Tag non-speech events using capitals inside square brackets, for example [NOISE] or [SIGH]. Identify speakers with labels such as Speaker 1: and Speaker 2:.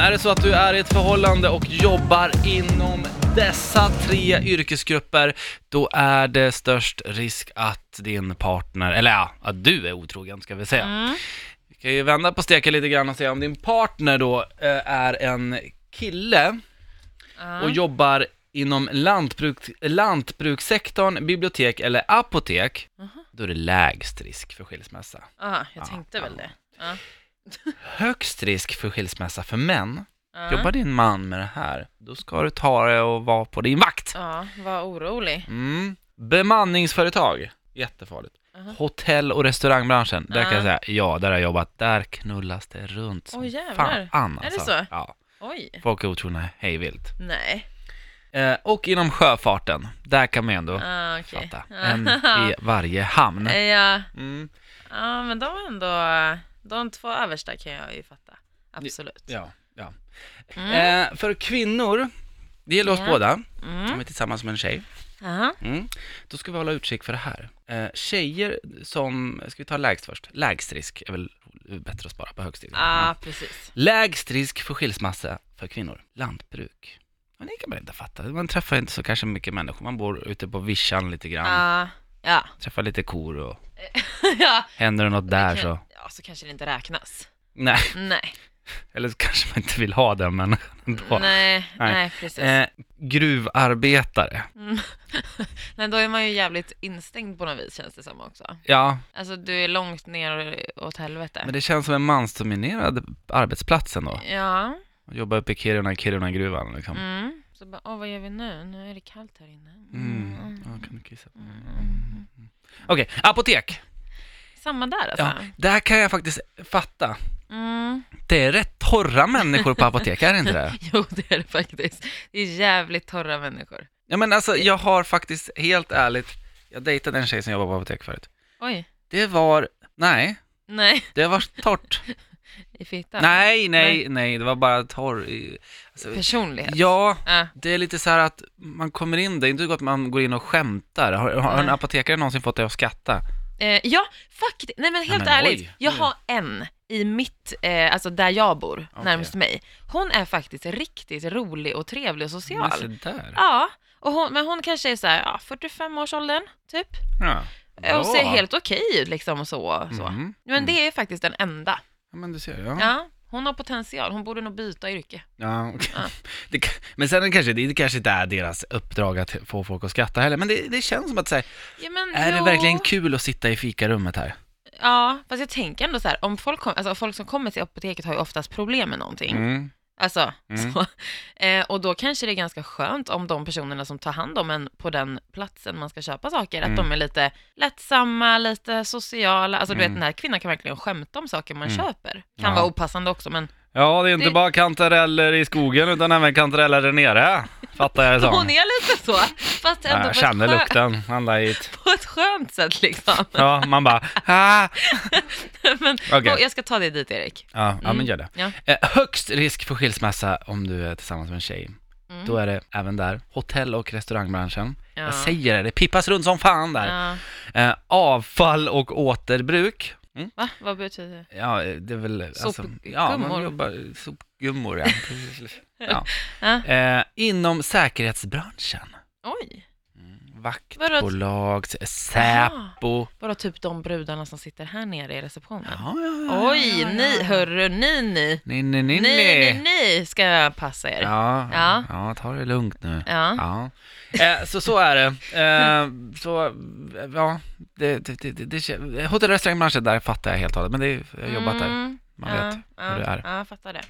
Speaker 1: Är det så att du är i ett förhållande och jobbar inom dessa tre yrkesgrupper, då är det störst risk att din partner, eller ja, att du är otrogen ska vi säga. Vi kan ju vända på steken lite grann och se om din partner då eh, är en kille och jobbar inom lantbruk, lantbrukssektorn, bibliotek eller apotek, då är det lägst risk för skilsmässa.
Speaker 2: Aha, Ah, jag
Speaker 1: Ja,
Speaker 2: tänkte väl
Speaker 1: ja.
Speaker 2: det.
Speaker 1: Högst risk för skilsmässa för män,
Speaker 2: Ja.
Speaker 1: Jobbar din man med det här, då ska du ta det och vara på din vakt.
Speaker 2: Ja, var orolig.
Speaker 1: Mm. Bemanningsföretag, jättefarligt.
Speaker 2: Aha.
Speaker 1: Hotell och restaurangbranschen, där kan jag
Speaker 2: Ah.
Speaker 1: säga, ja, där har jag jobbat, där knullas det runt
Speaker 2: Åh, jävlar.
Speaker 1: fan.
Speaker 2: Är det
Speaker 1: alltså.
Speaker 2: så?
Speaker 1: Ja,
Speaker 2: Oj.
Speaker 1: folk är otrogna hej vilt.
Speaker 2: Nej.
Speaker 1: Eh, och inom sjöfarten, där kan man ju ändå
Speaker 2: Ah, okej. [LAUGHS] Eh.
Speaker 1: fatta,
Speaker 2: Ja.
Speaker 1: en i varje hamn.
Speaker 2: Ja,
Speaker 1: Mm.
Speaker 2: ja, men de är ändå... De två översta kan jag ju fatta. Absolut.
Speaker 1: Ja, ja.
Speaker 2: Mm.
Speaker 1: Eh, för kvinnor, det gäller oss
Speaker 2: Ja.
Speaker 1: båda, om
Speaker 2: Mm.
Speaker 1: vi är tillsammans med en tjej.
Speaker 2: Aha.
Speaker 1: Mm. Då ska vi hålla utkik för det här. Eh, tjejer som, ska vi ta lägst först? Lägst risk är väl bättre att spara på högst risk.
Speaker 2: Ja, precis.
Speaker 1: Lägst risk för skilsmässa för kvinnor. Lantbruk. Men det kan man inte fatta. Man träffar inte så kanske mycket människor. Man bor ute på vischan lite grann.
Speaker 2: Ja. Ja. [LAUGHS]
Speaker 1: Träffar lite kor och
Speaker 2: ja.
Speaker 1: händer det något där så.
Speaker 2: ja, så kanske det
Speaker 1: [LAUGHS]
Speaker 2: inte räknas.
Speaker 1: Nej,
Speaker 2: Nej,
Speaker 1: eller så kanske man inte vill ha den människan [LAUGHS] ändå.
Speaker 2: nej, nej, precis.
Speaker 1: Eh, gruvarbetare.
Speaker 2: Mm. nej, då är man ju jävligt instängd på något vis känns det som också.
Speaker 1: Ja,
Speaker 2: Alltså du är långt ner åt helvete.
Speaker 1: men det känns som en mansdominerad arbetsplats ändå.
Speaker 2: Ja,
Speaker 1: Jobbar uppe i Kiruna, Kiruna-gruvan liksom.
Speaker 2: mm. Så bara, åh vad gör vi nu? Nu är det kallt här inne.
Speaker 1: Mm.
Speaker 2: Mm, mm.
Speaker 1: Ja, kan du kissa på mig?
Speaker 2: Mm.
Speaker 1: Okej, apotek.
Speaker 2: Samma där alltså?
Speaker 1: Ja, där kan jag faktiskt fatta.
Speaker 2: Mm.
Speaker 1: Det är rätt torra människor på apotek, är det inte [LAUGHS] det?
Speaker 2: [LAUGHS] Jo, det är det faktiskt. Det är jävligt torra människor.
Speaker 1: Ja, men alltså, jag har faktiskt, helt ärligt, jag dejtade en tjej som jobbade på apotek förut.
Speaker 2: Oj,
Speaker 1: Det var, nej,
Speaker 2: nej,
Speaker 1: det var [LAUGHS] torrt.
Speaker 2: i fittan.
Speaker 1: Nej, nej,
Speaker 2: Nej.
Speaker 1: nej, det var bara torr. i- Alltså,
Speaker 2: Personlighet.
Speaker 1: ja,
Speaker 2: Ja.
Speaker 1: det är lite så här att man kommer in, det är inte gott att man går in och skämtar. Har, har en
Speaker 2: Nej.
Speaker 1: apotekare någonsin fått dig att skratta?
Speaker 2: Eh, ja, faktiskt. Nej men helt
Speaker 1: men
Speaker 2: ärligt,
Speaker 1: oj.
Speaker 2: jag har en i mitt, eh, alltså där jag bor,
Speaker 1: Okej.
Speaker 2: närmast mig. Hon är faktiskt riktigt rolig och trevlig och social.
Speaker 1: Men se där.
Speaker 2: Ja, och hon, men hon kanske är så här, ja, 45 års åldern typ.
Speaker 1: Ja.
Speaker 2: Eh, Och ser
Speaker 1: Bra.
Speaker 2: helt okej ut liksom och så. så.
Speaker 1: Mhm.
Speaker 2: Men det är faktiskt den enda.
Speaker 1: Ja, men du ser,
Speaker 2: Ja, hon har potential, hon borde nog byta yrke.
Speaker 1: Ja, okej.
Speaker 2: Ja.
Speaker 1: [LAUGHS] Det, ka- men sen är det kanske, det kanske inte är deras uppdrag att få folk att skratta heller, men det, det känns som att säga,
Speaker 2: Ja, men,
Speaker 1: är det
Speaker 2: jo.
Speaker 1: verkligen kul att sitta i fikarummet här?
Speaker 2: Ja, fast jag tänker ändå så här, om folk, kom, alltså, folk som kommer till apoteket har ju oftast problem med någonting.
Speaker 1: Mm.
Speaker 2: Alltså,
Speaker 1: Mm.
Speaker 2: så. [LAUGHS] Eh, och då kanske det är ganska skönt om de personerna som tar hand om en på den platsen man ska köpa saker,
Speaker 1: Mm.
Speaker 2: att de är lite lättsamma, lite sociala. Alltså du
Speaker 1: Mm.
Speaker 2: vet, den här kvinnan kan verkligen skämta om saker man
Speaker 1: Mm.
Speaker 2: köper.
Speaker 1: Ja.
Speaker 2: Kan vara opassande också, men
Speaker 1: Ja, det är
Speaker 2: inte Det-
Speaker 1: bara kantareller i skogen utan även kantareller där nere, fattar jag
Speaker 2: [LAUGHS] hon är lite så. Fast ändå på, ett skö-
Speaker 1: lukten, handla hit.
Speaker 2: på ett skönt sätt liksom. [LAUGHS]
Speaker 1: Ja, man bara, ah.
Speaker 2: men,
Speaker 1: Okej.
Speaker 2: och jag ska ta dig dit Erik.
Speaker 1: Ja, ja men
Speaker 2: Mm.
Speaker 1: gör det.
Speaker 2: Ja.
Speaker 1: Eh, högst risk för skilsmässa om du är tillsammans med en tjej.
Speaker 2: Mm.
Speaker 1: Då är det även där, hotell och restaurangbranschen.
Speaker 2: Ja.
Speaker 1: Jag säger det, det pippas runt som fan där.
Speaker 2: Ja.
Speaker 1: Eh, avfall och återbruk.
Speaker 2: Va? Vad betyder det?
Speaker 1: Ja, eh, det är väl... Alltså, ja, man
Speaker 2: Sopgummor.
Speaker 1: jobbar, sopgummor, ja. Precis.
Speaker 2: Ja.
Speaker 1: ja. Eh, inom säkerhetsbranschen.
Speaker 2: Oj,
Speaker 1: Vaktbolag, Säpo.
Speaker 2: bara typ de brudarna som sitter här nere i receptionen.
Speaker 1: Ja, ja, ja, ja,
Speaker 2: Oj,
Speaker 1: ja, ja.
Speaker 2: ni, hörru, ni, ni.
Speaker 1: Ni, ni, ni,
Speaker 2: Ni, ni, ni ska jag passa er. Ja.
Speaker 1: Ja, ja.
Speaker 2: Ja.
Speaker 1: ja, ta det lugnt nu.
Speaker 2: Ja.
Speaker 1: Ja. Eh, så så är det. Eh, så, eh, ja, det, det, det, det, det, hotell och restaurangbranschen, där fattar jag helt och hållet, men det, jag har jobbat där.
Speaker 2: Mm,
Speaker 1: Man
Speaker 2: ja,
Speaker 1: vet
Speaker 2: ja,
Speaker 1: hur det är.
Speaker 2: Ja, jag fattar det.